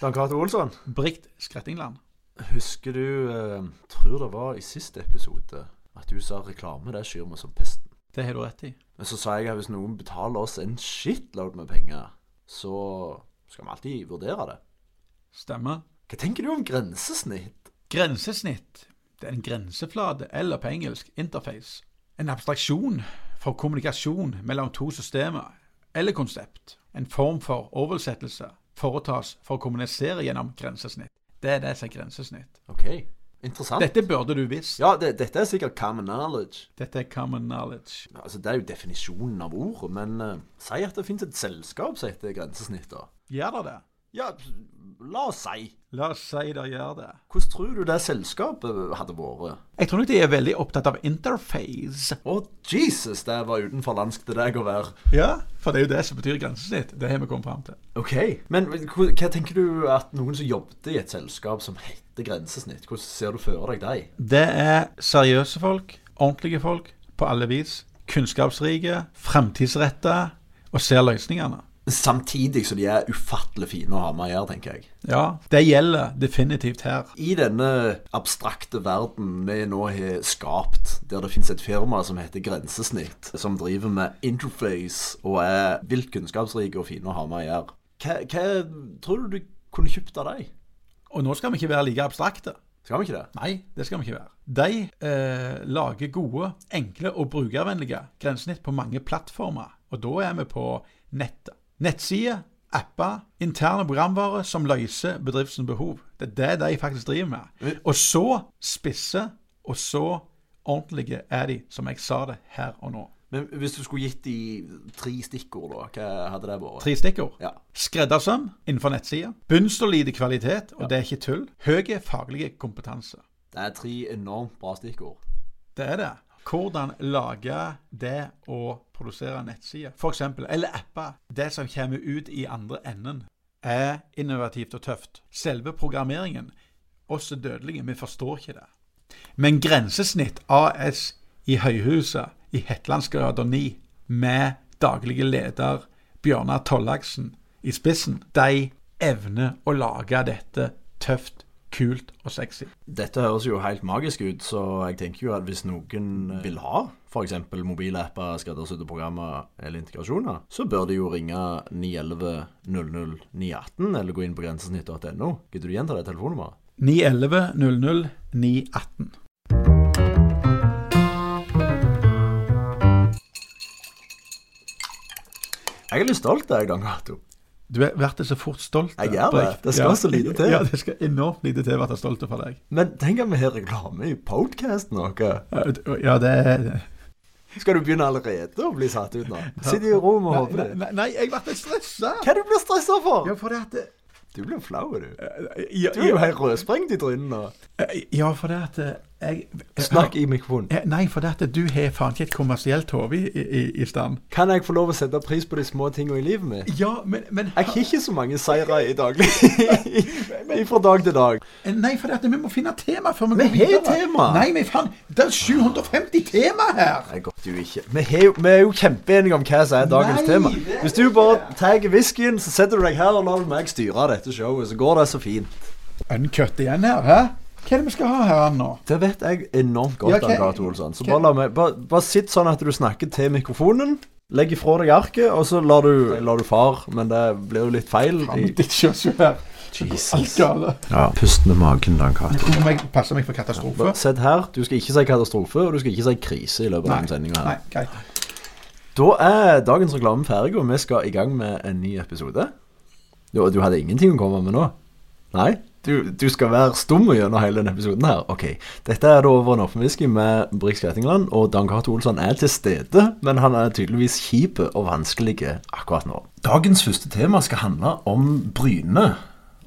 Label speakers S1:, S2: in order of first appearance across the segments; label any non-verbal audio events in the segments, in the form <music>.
S1: Dan Cato Olsson,
S2: Brikt Skrettingland.
S1: husker du eh, Tror det var i siste episode at du sa reklame, det skyr vi som pesten.
S2: Det har du rett i.
S1: Men så sa jeg at hvis noen betaler oss en shitload med penger, så skal vi alltid vurdere det.
S2: Stemmer.
S1: Hva tenker du om grensesnitt?
S2: Grensesnitt. Det er en grenseflate, eller på engelsk interface. En abstraksjon for kommunikasjon mellom to systemer eller konsept. En form for oversettelse foretas for å kommunisere gjennom grensesnitt. Det er det som er grensesnitt.
S1: OK, interessant.
S2: Dette burde du visst.
S1: ja, det, dette er sikkert common knowledge.
S2: Dette er common knowledge.
S1: Altså, Det er jo definisjonen av ordet, men eh, si at det finnes et selskap som heter grensesnitt, da.
S2: Gjør det det?
S1: Ja, la oss si.
S2: La oss si det gjør det.
S1: Hvordan tror du det selskapet hadde vært?
S2: Jeg tror nok de er veldig opptatt av interface.
S1: Å, Jesus, det var utenfor landsk til deg å være.
S2: Ja, for det er jo det som betyr grensesnitt. Det har vi kommet fram til.
S1: Ok, men hva hva tenker du at noen som jobbet i et selskap som heter Grensesnitt, hvordan ser du for deg deg?
S2: Det er seriøse folk, ordentlige folk på alle vis. Kunnskapsrike, fremtidsretta og ser løsningene.
S1: Samtidig som de er ufattelig fine å ha med å gjøre, tenker jeg.
S2: Ja, det gjelder definitivt her.
S1: I denne abstrakte verden vi nå har skapt, der det finnes et firma som heter Grensesnitt, som driver med interface og er vilt kunnskapsrike og fine å ha med å gjøre, hva, hva tror du du kunne kjøpt av deg?
S2: Og nå skal vi ikke være like abstrakte.
S1: Skal vi ikke det?
S2: Nei, det skal vi ikke være. De eh, lager gode, enkle og brukervennlige grensesnitt på mange plattformer. Og da er vi på nettet. Nettsider, apper, interne programvare som løser bedriftens behov. Det er det de faktisk driver med. Og så spisse, og så ordentlige er de, som jeg sa det her og nå.
S1: Men hvis du skulle gitt de tre stikkord, da, hva hadde det vært?
S2: Tre stikkord.
S1: Ja.
S2: Skreddersøm innenfor nettsider. Bunnsolid kvalitet, og det er ikke tull. Høy faglig kompetanse.
S1: Det er tre enormt bra stikkord.
S2: Det er det. Hvordan lage det å produsere nettsider, f.eks., eller apper. Det som kommer ut i andre enden, er innovativt og tøft. Selve programmeringen, oss dødelige, vi forstår ikke det. Men grensesnitt AS i Høyhuset i Hetlandsgata 9, med daglige leder Bjørnar Tollaksen i spissen, de evner å lage dette tøft, kult og sexy.
S1: Dette høres jo helt magisk ut, så jeg tenker jo at hvis noen vil ha f.eks. mobilapper, skreddersydde programmer eller integrasjoner, så bør de jo ringe 911 00 918 eller gå inn på grensesnitt.no. Gidder du gjenta det telefonnummeret?
S2: 911 00 918.
S1: Jeg er litt stolt av deg, Dan Cato.
S2: Du er vært så fort stolt.
S1: Jeg er det.
S2: Brecht.
S1: Det skal så lite til.
S2: Ja, det skal enormt lite til å være stolt for deg.
S1: Men tenk at vi har reklame i podkasten vår.
S2: Ja, det er
S1: Skal du begynne allerede å bli satt ut nå? <laughs> Sitt i rom og håpe det.
S2: Nei, nei, jeg ble stressa!
S1: Hva er det du blir stressa for?
S2: Ja, for det at eh, det-
S1: Du blir flau, du.
S2: ja,
S1: Du er jo
S2: ja,
S1: helt rødsprengt i trynet nå.
S2: ja, for det at eh, jeg
S1: Snakk i mikrofonen.
S2: Eh, Nei, for det at du har faen ikke et kommersielt hode i, i, i stand.
S1: Kan jeg få lov å sette pris på de små tingene i livet mitt?
S2: Ja, men, men
S1: Jeg har ikke så mange seire i daglig Fra dag til dag.
S2: Nei, for det at eh, vi må finne tema før
S1: Vi
S2: vi går
S1: har
S2: videre.
S1: tema.
S2: Nei, men faen, det er 750 tema her!
S1: Nei, godt jo ikke. Vi, har jo- vi er jo kjempeenige om hva som er dagens
S2: Nei,
S1: tema.
S2: det er
S1: Hvis du bare tar whiskyen, så setter du deg her og lar meg styre dette showet, så går det så fint.
S2: Uncut igjen her, hæ? Hva er det vi skal ha her nå?
S1: Det vet jeg enormt godt,
S2: Ja, hva-
S1: Dan Cato Olsson. Så
S2: hva-
S1: bare, la meg, bare, bare sitt sånn at du snakker til mikrofonen. Legg ifra deg arket, og så lar du, lar du far, men det blir jo litt feil.
S2: Ja, men
S1: i-
S2: ditt kjøsvær. Alt gale.
S1: Ja, Pust med magen, Dan Cato.
S2: Nå må jeg passe meg for katastrofe.
S1: Bare Sett her. Du skal ikke si katastrofe, og du skal ikke si krise i løpet av denne sendinga her.
S2: Nei, greit.
S1: Da er dagens reklame ferdig, og vi skal i gang med en ny episode. Du, du hadde ingenting å komme med nå? Nei? Du, du skal være stum gjennom hele denne episoden her. Ok, Dette er da Over en åpen whisky med Brix Grettingland, og Dan Cato Olsson er til stede, men han er tydeligvis kjip og vanskelig akkurat nå. Dagens første tema skal handle om Bryne.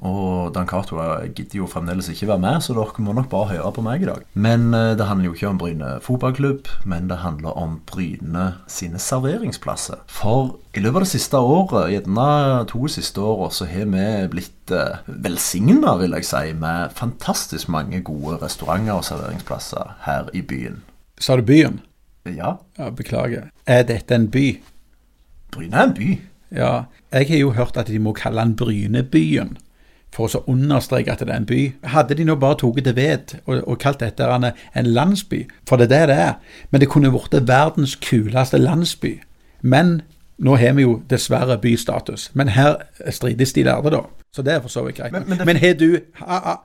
S1: Og Dan Cato eh, gidder jo fremdeles ikke være med, så dere må nok bare høre på meg i dag. Men eh, det handler jo ikke om Bryne fotballklubb, men det handler om Bryne sine serveringsplasser. For i løpet av det siste året, gjerne to siste åra, så har vi blitt eh, velsigna, vil jeg si, med fantastisk mange gode restauranter og serveringsplasser her i byen.
S2: Sa du byen?
S1: Ja,
S2: Ja, beklager. Er dette en by?
S1: Bryne er en by.
S2: Ja. Jeg har jo hørt at de må kalle den Brynebyen. for å så understreke at det er en by. Hadde de nå bare tatt det ved og, og kalt dette her en, en landsby, for det er det det er, men det kunne blitt verdens kuleste landsby. Men nå har vi jo dessverre bystatus, men her strides de lærde, da. Så det er for så vidt greit.
S1: Men-
S2: Men,
S1: men det-
S2: har du ha, ha,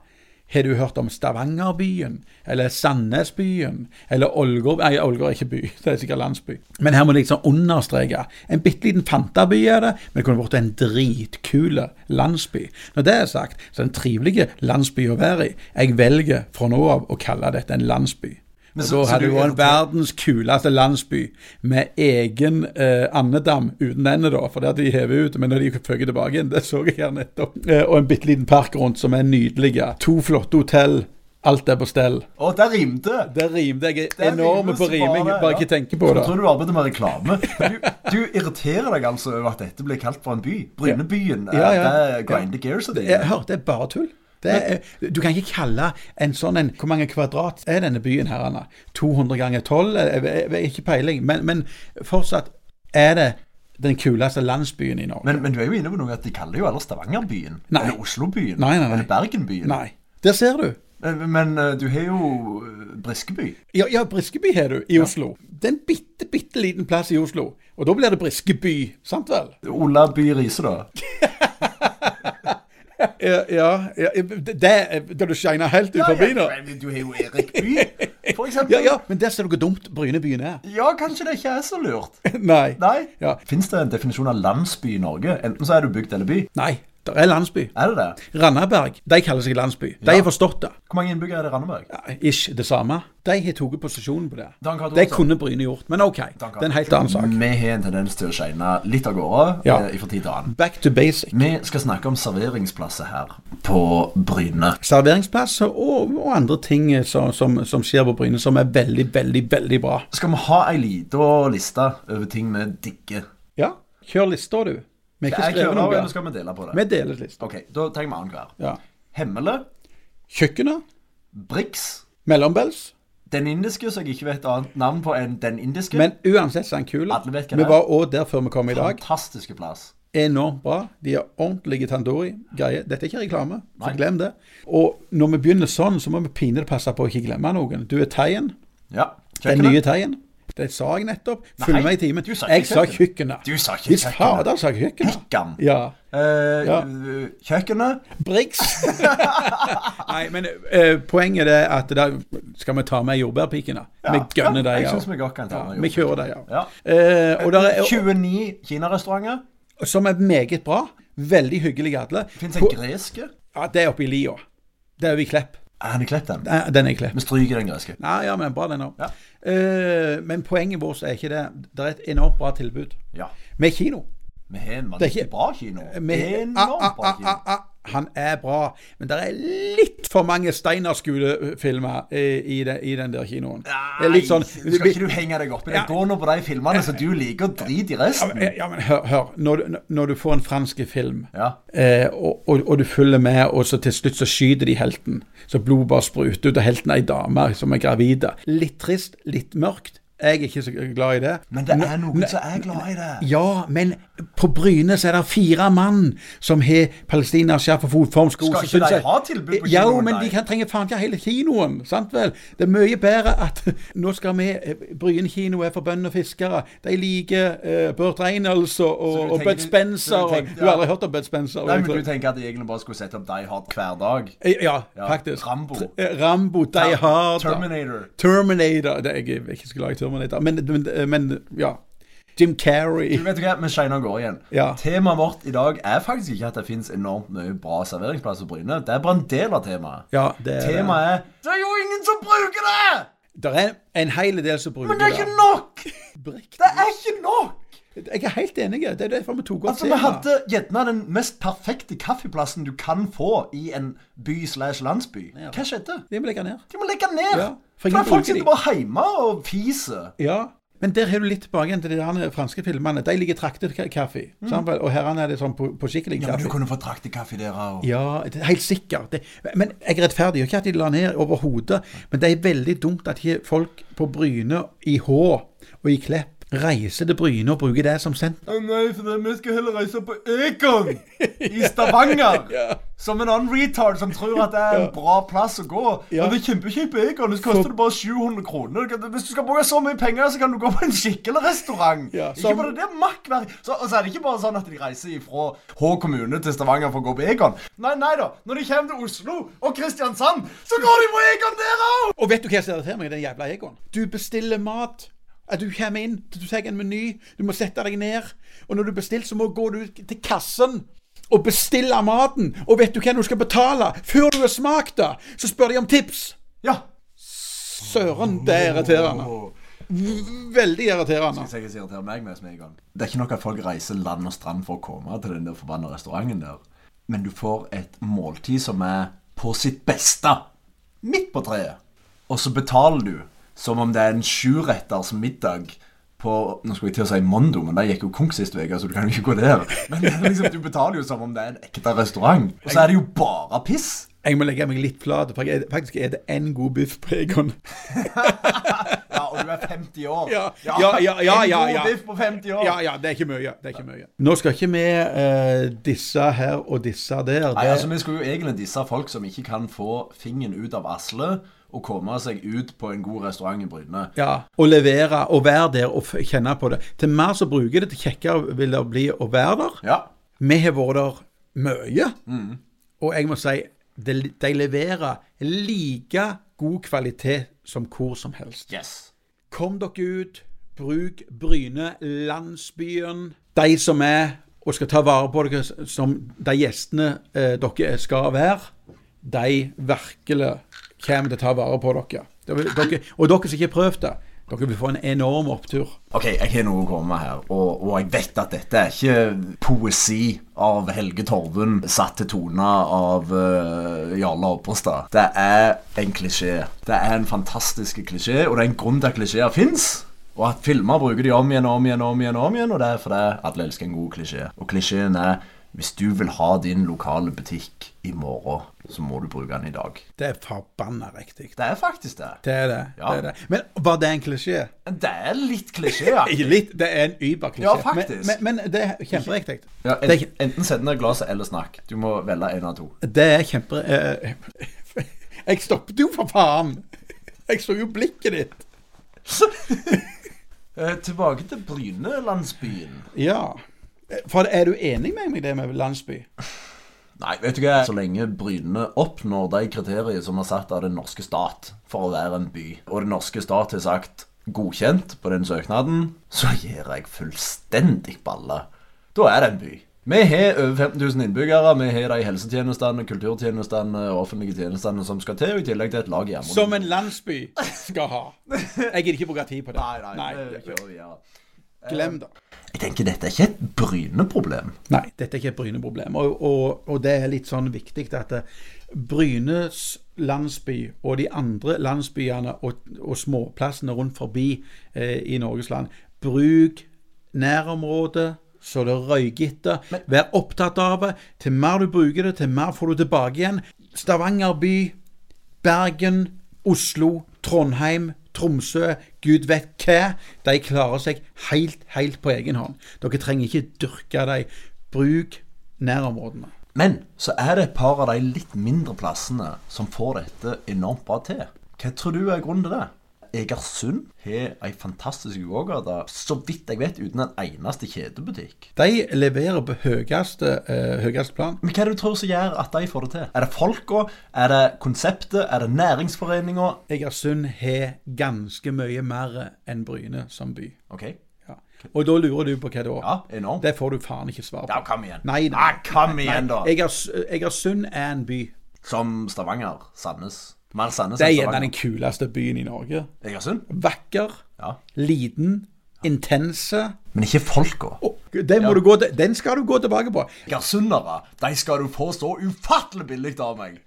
S2: har du hørt om Stavangerbyen, eller Sandnesbyen, eller Ålgård Nei, Ålgård er ikke by, <laughs> det er sikkert landsby. Men her må jeg liksom understreke. En bitte liten fantaby er det, men det kunne vært en dritkul landsby. Når det er sagt, så er det en trivelig landsby å være i. Jeg velger fra nå av å kalle dette en landsby.
S1: Men
S2: Og
S1: så-
S2: da
S1: så
S2: hadde
S1: du
S2: det vært
S1: er-
S2: verdens kuleste landsby, med egen eh, andedam uten ende, da, for det at de hever ut. Men når de føyer tilbake igjen, det så jeg her nettopp. Eh, og en bitte liten park rundt som er nydelig. To flotte hotell. Alt er på stell.
S1: Å, der rimte!
S2: Det rimte jeg
S1: Det
S2: er
S1: er
S2: enorme på
S1: rimelse
S2: riming,
S1: bare,
S2: bare
S1: ja.
S2: ikke tenke på det.
S1: Jeg tror du arbeider med reklame. Du, du irriterer deg altså over at dette ble kalt for en by. Brynebyen. eh,
S2: Ja, ja.
S1: Det er Grindy Gears og det.
S2: Jeg hørte, det er bare tull. Det er, eh, du kan ikke kalle en sånn en Hvor mange kvadrat er denne byen her, Anna? 200 ganger Eh, 12? Jeg, jeg, jeg, ikke peiling. Men, men fortsatt er det den kuleste landsbyen i Norge.
S1: Men, men du er jo inne på noe at de kaller jo alle Stavangerbyen.
S2: Nei.
S1: Eller Oslobyen.
S2: Nei, nei, nei.
S1: Eller Bergenbyen.
S2: Nei. Der ser du.
S1: Eh, Men eh, du har jo eh, Briskeby.
S2: Ja, ja Briskeby har du i Oslo. Det er en bitte, bitte liten plass i Oslo. Og da blir det Briskeby, sant vel?
S1: Ola By Riise, da.
S2: Ja, ja, ja Det det- det du shiner helt ut forbi nå.
S1: men du har jo Erik By,
S2: <laughs>
S1: for eksempel.
S2: Ja, ja, men der ser du hvor dumt Brynebyen er.
S1: Ja, kanskje det ikke er så lurt.
S2: <laughs> Nei.
S1: Nei.
S2: Ja.
S1: Fins det en definisjon av landsby i Norge? Enten så er du bygd eller by.
S2: Nei, der er landsby.
S1: Er det det?
S2: Randaberg, de kaller seg landsby. De har forstått det.
S1: Hvor mange innbyggere er det i Randaberg?
S2: Ja, Ish det samme. De har tatt posisjonen på det.
S1: Dan Cato
S2: Det
S1: også.
S2: kunne Bryne gjort, men OK. Det er en helt annen sak.
S1: Vi har en tendens til å shine litt av gårde
S2: Ja.
S1: eh, ifra tid til annen.
S2: Back to basic.
S1: Vi skal snakke om serveringsplasser her på Bryne.
S2: Serveringsplasser og, og andre ting eh, som, som, som skjer på Bryne som er veldig, veldig, veldig bra.
S1: Skal vi ha ei lita liste over ting vi digger?
S2: Ja, kjør lista, du. Vi har
S1: Jeg
S2: ikke
S1: kødder,
S2: skrevet
S1: eller
S2: noe.
S1: skal vi dele på det?
S2: Vi deler lista.
S1: Ok, Da tar vi annenhver.
S2: Ja.
S1: Hemmele,
S2: Kjøkkenet.
S1: Brix,
S2: Mellombels.
S1: Den indiske, som jeg ikke vet annet navn på enn Den indiske.
S2: Men uansett så er den kul.
S1: Alle vet hva det
S2: Vi
S1: er.
S2: var òg der før vi kom i dag.
S1: Fantastiske plass.
S2: enormt bra. De er ordentlige tandoori-greier. Dette er ikke reklame, så glem det. Og når vi begynner sånn, så må vi pinlig passe på å ikke glemme noen. Du er Thaien.
S1: Ja.
S2: Den
S1: kjøkkenet.
S2: nye Thaien. Det sa jeg nettopp. Følg
S1: Nei,
S2: med i timen.
S1: du sa
S2: Jeg
S1: ikke
S2: sa
S1: kjøkkenet.
S2: kjøkkenet.
S1: Du sa ikke
S2: Hvis
S1: kjøkkenet.
S2: fader sa jeg kjøkkenet.
S1: Pikken.
S2: Ja.
S1: Eh,
S2: Ja.
S1: Kjøkkenet.
S2: Brix. <laughs> Nei, men eh, poenget er at da skal vi ta med jordbærpikene. Vi gønner
S1: ja,
S2: dem.
S1: jeg
S2: ja.
S1: synes vi godt kan ta med
S2: Ja, vi kjører dem, ja.
S1: Ja.
S2: Eh, og der er,
S1: 29 kinarestauranter.
S2: som er meget bra. Veldig hyggelige alle.
S1: Fins en
S2: På-
S1: greske?
S2: Ja, det er oppe i lia. Det er jo i Klepp.
S1: Er han i Klepp, den?
S2: Nei, Den er i Klepp.
S1: Vi stryker den greske.
S2: Nei, ja, men bra den òg.
S1: Ja.
S2: men poenget vårt er ikke det. Det er et enormt bra tilbud.
S1: Ja.
S2: Med kino.
S1: Vi har en
S2: Det er
S1: vanvittig
S2: ikke-
S1: bra kino.
S2: Med,
S1: Enormt
S2: ah, ah,
S1: bra
S2: ah,
S1: kino.
S2: ah, ah, han er bra, men det er litt for mange Steinerskule-filmer eh, i, den- i den der kinoen. Det er litt sånn
S1: Nei, skal ikke du henge deg opp i det?
S2: Ja.
S1: Gå nå på de filmene som du liker, og drit i resten.
S2: Ja, men hør, hør. Når, du, når du får en fransk film,
S1: Ja.
S2: eh, og, og, og du følger med, og så til slutt så skyter de helten. Så blod bare spruter ut, og helten er ei dame som er gravid. Litt trist, litt mørkt. Jeg er ikke så glad i det.
S1: Men det er
S2: Nå-
S1: noen som er glad i det.
S2: ja, men på Bryne så er det fire mann som har palestinaskjerf og fotformsko.
S1: Skal
S2: så
S1: ikke
S2: synes
S1: de
S2: jeg-
S1: ha tilbud på
S2: Ja,
S1: kinoen,
S2: men
S1: nei?
S2: de kan trenger faen ikke hele kinoen, sant vel? Det er mye bedre at <laughs> nå skal vi eh, Bryne kino er for bønder og fiskere. De liker eh, Burt Reynolds
S1: Så
S2: og,
S1: du
S2: og, og
S1: tenker-
S2: Bud Spencer.
S1: så du
S2: og-
S1: tenker-
S2: Du har
S1: ja.
S2: aldri hørt om Bud Spencer?
S1: Nei,
S2: vet
S1: men
S2: du.
S1: Du tenker at de egentlig bare skulle sette opp Die Hard hver dag?
S2: Ja,
S1: Ja,
S2: faktisk.
S1: Rambo.
S2: Tr- Rambo, Die Hard.
S1: Terminator.
S2: Terminator. Det, jeg er ikke skulle lage Terminator, men, men, men ja. Jim Carrey.
S1: Du vet hva, vi shiner og går igjen.
S2: Ja.
S1: Temaet vårt i dag er faktisk ikke at det finnes enormt mye bra serveringsplasser på Bryne. Det er bare en del av temaet.
S2: Ja, det er det.
S1: Temaet er Det er jo ingen som bruker det!
S2: Det er en hel del som bruker
S1: Men det er ikke nok!
S2: Brikk.
S1: Det er ikke nok!
S2: Jeg er helt enig. Det er derfor vi tok opp
S1: Altså, vi hadde gjerne den mest perfekte kaffeplassen du kan få i en by slash landsby. Hva skjedde?
S2: Det må legge ned.
S1: De må legge ned!
S2: Ja, for
S1: for
S2: ingen
S1: det er folk
S2: bruker
S1: sitter
S2: de.
S1: bare hjemme og fiser.
S2: Ja. Men der har du litt tilbake igjen til de der franske filmene. De ligger traktekaffe. Mm. Og her er det sånn på, på
S1: Ja,
S2: skikkelig
S1: men du
S2: kaffe.
S1: kunne fått traktekaffe der òg.
S2: Ja, det er helt sikkert. Det, men jeg rettferdiggjør ikke at de la ned overhodet. Men det er veldig dumt at ikke folk på Bryne, i Hå og i Klepp reiser til Bryne og bruker det som senter.
S1: Å nei, for vi skal heller reise på Ekon! i Stavanger.
S2: <laughs> Ja.
S1: Som en annen retard som tror at det er en bra plass å gå.
S2: Ja.
S1: Men det er kjempekjipt bacon. Det koster det bare 700 kroner. Du kan- Hvis du skal bruke så mye penger, så kan du gå på en skikkelig restaurant.
S2: Ja,
S1: Ikke
S2: som-
S1: bare det, makkverk. Så, og så er det ikke bare sånn at de reiser fra Hå kommune til Stavanger for å gå på Egon. Nei, nei da. Når de kommer til Oslo og Kristiansand, så går de på Egon der òg!
S2: Og vet du hva som irriterer meg? Den jævla egoen. Du bestiller mat. At du kommer inn, du tar en meny, du må sette deg ned. Og når du bestiller, så må du gå ut til kassen og bestille maten. Og vet du hva du skal betale? Før du har smakt det, så spør de om tips.
S1: Ja.
S2: Søren, det er irriterende. V- Veldig irriterende.
S1: Hvis jeg irriterer meg mest med Egon. Det er ikke nok at folk reiser land og strand for å komme til den der forbanna restauranten der, men du får et måltid som er på sitt beste midt på treet. Og så betaler du som om det er en sjuretters middag på Nå skulle jeg til å si Mondo, men der gikk jo konk sist uke, så du kan jo ikke gå der. Men det er liksom, du betaler jo som om det er en ekte restaurant. Og så er det jo bare piss. <laughs>
S2: Jeg må legge meg litt flat. for jeg- Faktisk er det én god biff på
S1: <laughs>
S2: Egon.
S1: Ja, og du er 50 år.
S2: Ja, ja, ja, ja, ja,
S1: En
S2: ja.
S1: god biff på 50 år.
S2: Ja, ja, det er ikke mye. det er ikke mye. Nå skal ikke vi eh, disse her og disse der.
S1: Nei,
S2: Det-
S1: altså Vi skulle jo egentlig disse folk som ikke kan få fingeren ut av Asle og komme seg ut på en god restaurant i Bryne.
S2: Ja, Å levere og være der og f- kjenne på det. Til mer som bruker det, til kjekkere vil det bli å være der.
S1: Ja.
S2: Vi har vært der mye, og jeg må si de, de leverer like god kvalitet som hvor som helst.
S1: Yes.
S2: Kom dere ut, bruk Bryne, landsbyen. De som er og skal ta vare på dere s- som de gjestene eh, dere skal være, de virkelig kommer til å ta vare på dere. Dere, dere. Og dere som ikke har prøvd det, dere vil få en enorm opptur.
S1: OK, jeg har noe å komme med her, og, og jeg vet at dette er ikke poesi av Helge Torven satt til tone av eh, Jarle Oppestad. Det er en klisjé. Det er en fantastisk klisjé, og det er en grunn til at klisjeer fins. Og at filmer bruker de om igjen og om igjen, og om igjen, og om igjen, og det er fordi alle elsker en god klisjé. Og klisjeen er hvis du vil ha din lokale butikk i morgen, så må du bruke den i dag.
S2: Det er forbanna riktig.
S1: Det er faktisk det.
S2: Det er det.
S1: Ja.
S2: det, er det. Men var det en klisjé?
S1: Det er litt klisjéaktig.
S2: Ikke litt, det er en überklisjé.
S1: Ja, faktisk.
S2: Men, men, men det er kjemperiktig.
S1: Ja,
S2: Det er
S1: en, enten sett ned glasset eller snakk. Du må velge en av to.
S2: Det er kjempe... eh, <laughs> jeg stoppet jo, for faen! Jeg så jo blikket ditt.
S1: <laughs> Eh, tilbake til Bryne-landsbyen.
S2: Ja. For er du enig med meg i det med landsby?
S1: Nei, vet du hva? Så lenge Bryne oppnår de kriterier som er satt av den norske stat for å være en by, og den norske stat har sagt godkjent på den søknaden, så gir jeg fullstendig balle. Da er det en by. Vi har over 15 000 innbyggere. Vi har de helsetjenestene, kulturtjenestene og offentlige tjenestene som skal til, i tillegg til et lag hjemme.
S2: Som en landsby skal ha. Jeg gidder ikke bruke tid på det.
S1: Nei, nei, det kjører vi videre.
S2: glem det.
S1: Jeg tenker dette er ikke et Bryne-problem.
S2: Nei, dette er ikke et Bryne-problem. Og, og, og det er litt sånn viktig at eh, Brynes landsby og de andre landsbyene og, og småplassene rundt forbi eh, i Norges land, bruk nærområdet så det røyker etter. Vær opptatt av det. Til mer du bruker det, til mer får du tilbake igjen. Stavanger by, Bergen, Oslo, Trondheim, Tromsø, gud vet hva. De klarer seg helt, helt på egen hånd. Dere trenger ikke dyrke dem. Bruk nærområdene.
S1: Men så er det et par av de litt mindre plassene som får dette enormt bra til. Hva tror du er grunnen til det? Egersund har ei fantastisk gågate, så vidt jeg vet, uten en eneste kjedebutikk.
S2: De leverer på høyeste, eh, høyeste plan.
S1: Men hva er det du tror som gjør at de får det til? Er det folka? Er det konseptet? Er det næringsforeninga?
S2: Egersund har ganske mye mer enn Bryne som by.
S1: OK.
S2: Ja. Og da lurer du på hva da?
S1: Ja, enormt.
S2: Det får du faen ikke svar på.
S1: Ja, kom igjen.
S2: Nei, nei.
S1: Ja, kom igjen, da.
S2: Egers- Egersund er en by.
S1: Som Stavanger. Sandnes. Mer Sandnes
S2: Det er
S1: enn
S2: gjerne den
S1: Stavanger.
S2: kuleste byen i Norge.
S1: Egersund?
S2: Vakker,
S1: Ja.
S2: liten, intense.
S1: Men ikke folka.
S2: Å, Den, må du gå, til- den skal du gå tilbake på.
S1: Egersundere, de skal du få så ufattelig billig av meg.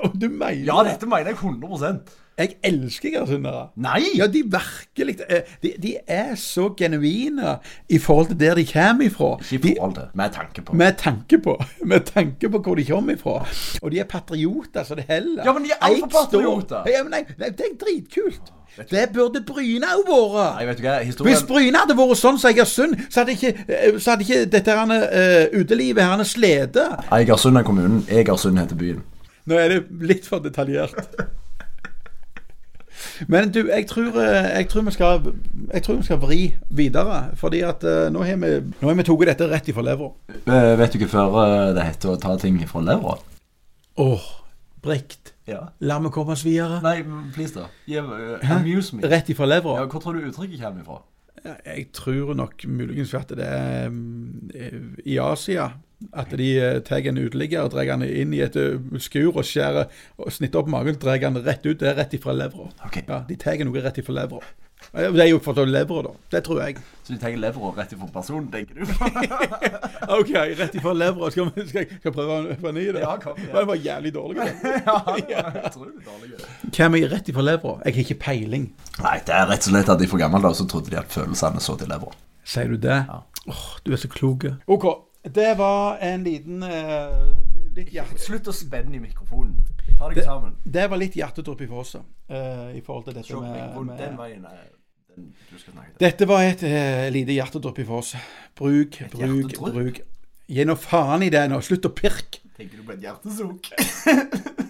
S2: Og du mener
S1: Ja, dette mener jeg 100
S2: Jeg elsker egersundere.
S1: Nei!
S2: Ja, de virkelig eh, de, de er så genuine i forhold til der de kommer ifra.
S1: Ikke i
S2: De,
S1: forhold til, med tanke på.
S2: med tanke på Med tanke på hvor de kommer ifra. Og de er patrioter så det heller.
S1: Ja, men de er alt for
S2: Jeg står-
S1: patrioter.
S2: Ja, men nei, nei, det er dritkult.
S1: vet du-
S2: Det burde Bryne òg vært!
S1: Nei, vet du hva,
S2: Hvis
S1: historien
S2: Bryne hadde vært sånn som Egersund, så hadde ikke, eh, så hadde ikke dette her, eh, utelivet her slitt.
S1: Egersund er kommunen. Egersund heter byen.
S2: Nå er det litt for detaljert. Men du, jeg tror, eh, jeg tror, vi, skal, jeg tror vi skal vri videre. Fordi at eh, nå har vi, nå har vi tatt dette rett ifra levra.
S1: Eh, vet du hva før eh, det heter å ta ting fra levra?
S2: Åh, Brekt.
S1: Ja.
S2: La meg komme oss videre.
S1: Nei, men please, da. Gi- eh, amuse me.
S2: Rett ifra levra?
S1: Ja, hvor tror du uttrykket kommer ifra?
S2: Jeg tror nok muligens at det er mm, eh, i Asia. At de eh, tar en uteligger og drar han inn i et eh, skur og skjærer og snitter opp magen og drar han rett ut. Det er rett ifra levra.
S1: Ok,
S2: Ja, de tar noe rett ifra levra. Eh, Det er jo fra levra, da. Det tror jeg.
S1: Så du tenker levra rett ifra personen, <laughs> tenker du?
S2: OK, rett ifra levra. Skal, vi- skal, jeg- skal jeg prøve på ny?
S1: Ja, kom igjen.
S2: Det var jævlig dårlig. det. <laughs>
S1: ja, jeg tror det er dårlig.
S2: Hvem er rett ifra levra? Jeg har ikke peiling.
S1: Nei, det er rett og slett at de fra gammel dag så trodde de at følelsene så til levra.
S2: Sier du det?
S1: Ja.
S2: Åh, du er så klok. OK. Det var en liten eh, litt hjerte...
S1: Slutt å spenne i mikrofonen. Ta deg sammen.
S2: Det var litt hjertedrypp i Fåse i forhold til dette med,
S1: mikrofonen den
S2: med
S1: veien er den du skal snakke til.
S2: Dette var et eh, lite hjertedrypp i Fåse Bruk, bruk,
S1: hjertedrypp?
S2: bruk. Gi nå faen i det nå. Slutt å pirke.
S1: Tenker du på et hjertesukk?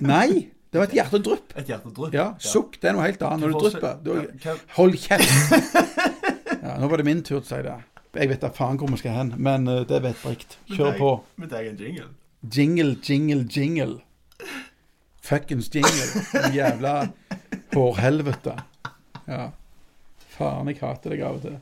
S2: Nei, det var et hjertedrypp.
S1: Et hjertedrypp?
S2: Ja, sukk det er noe helt annet når du
S1: Fåse-
S2: drypper. Du,
S1: Ja, hva-
S2: hold kjeft. <laughs> Ja, nå var det min tur til å si det. Jeg vet da faen hvor vi skal hen, men eh, det vet Brikt. Kjør på.
S1: Med deg en jingle.
S2: Jingle, jingle, jingle. Fuckings jingle. Jævla hårhelvete. Ja. Faen, jeg hater deg av og til.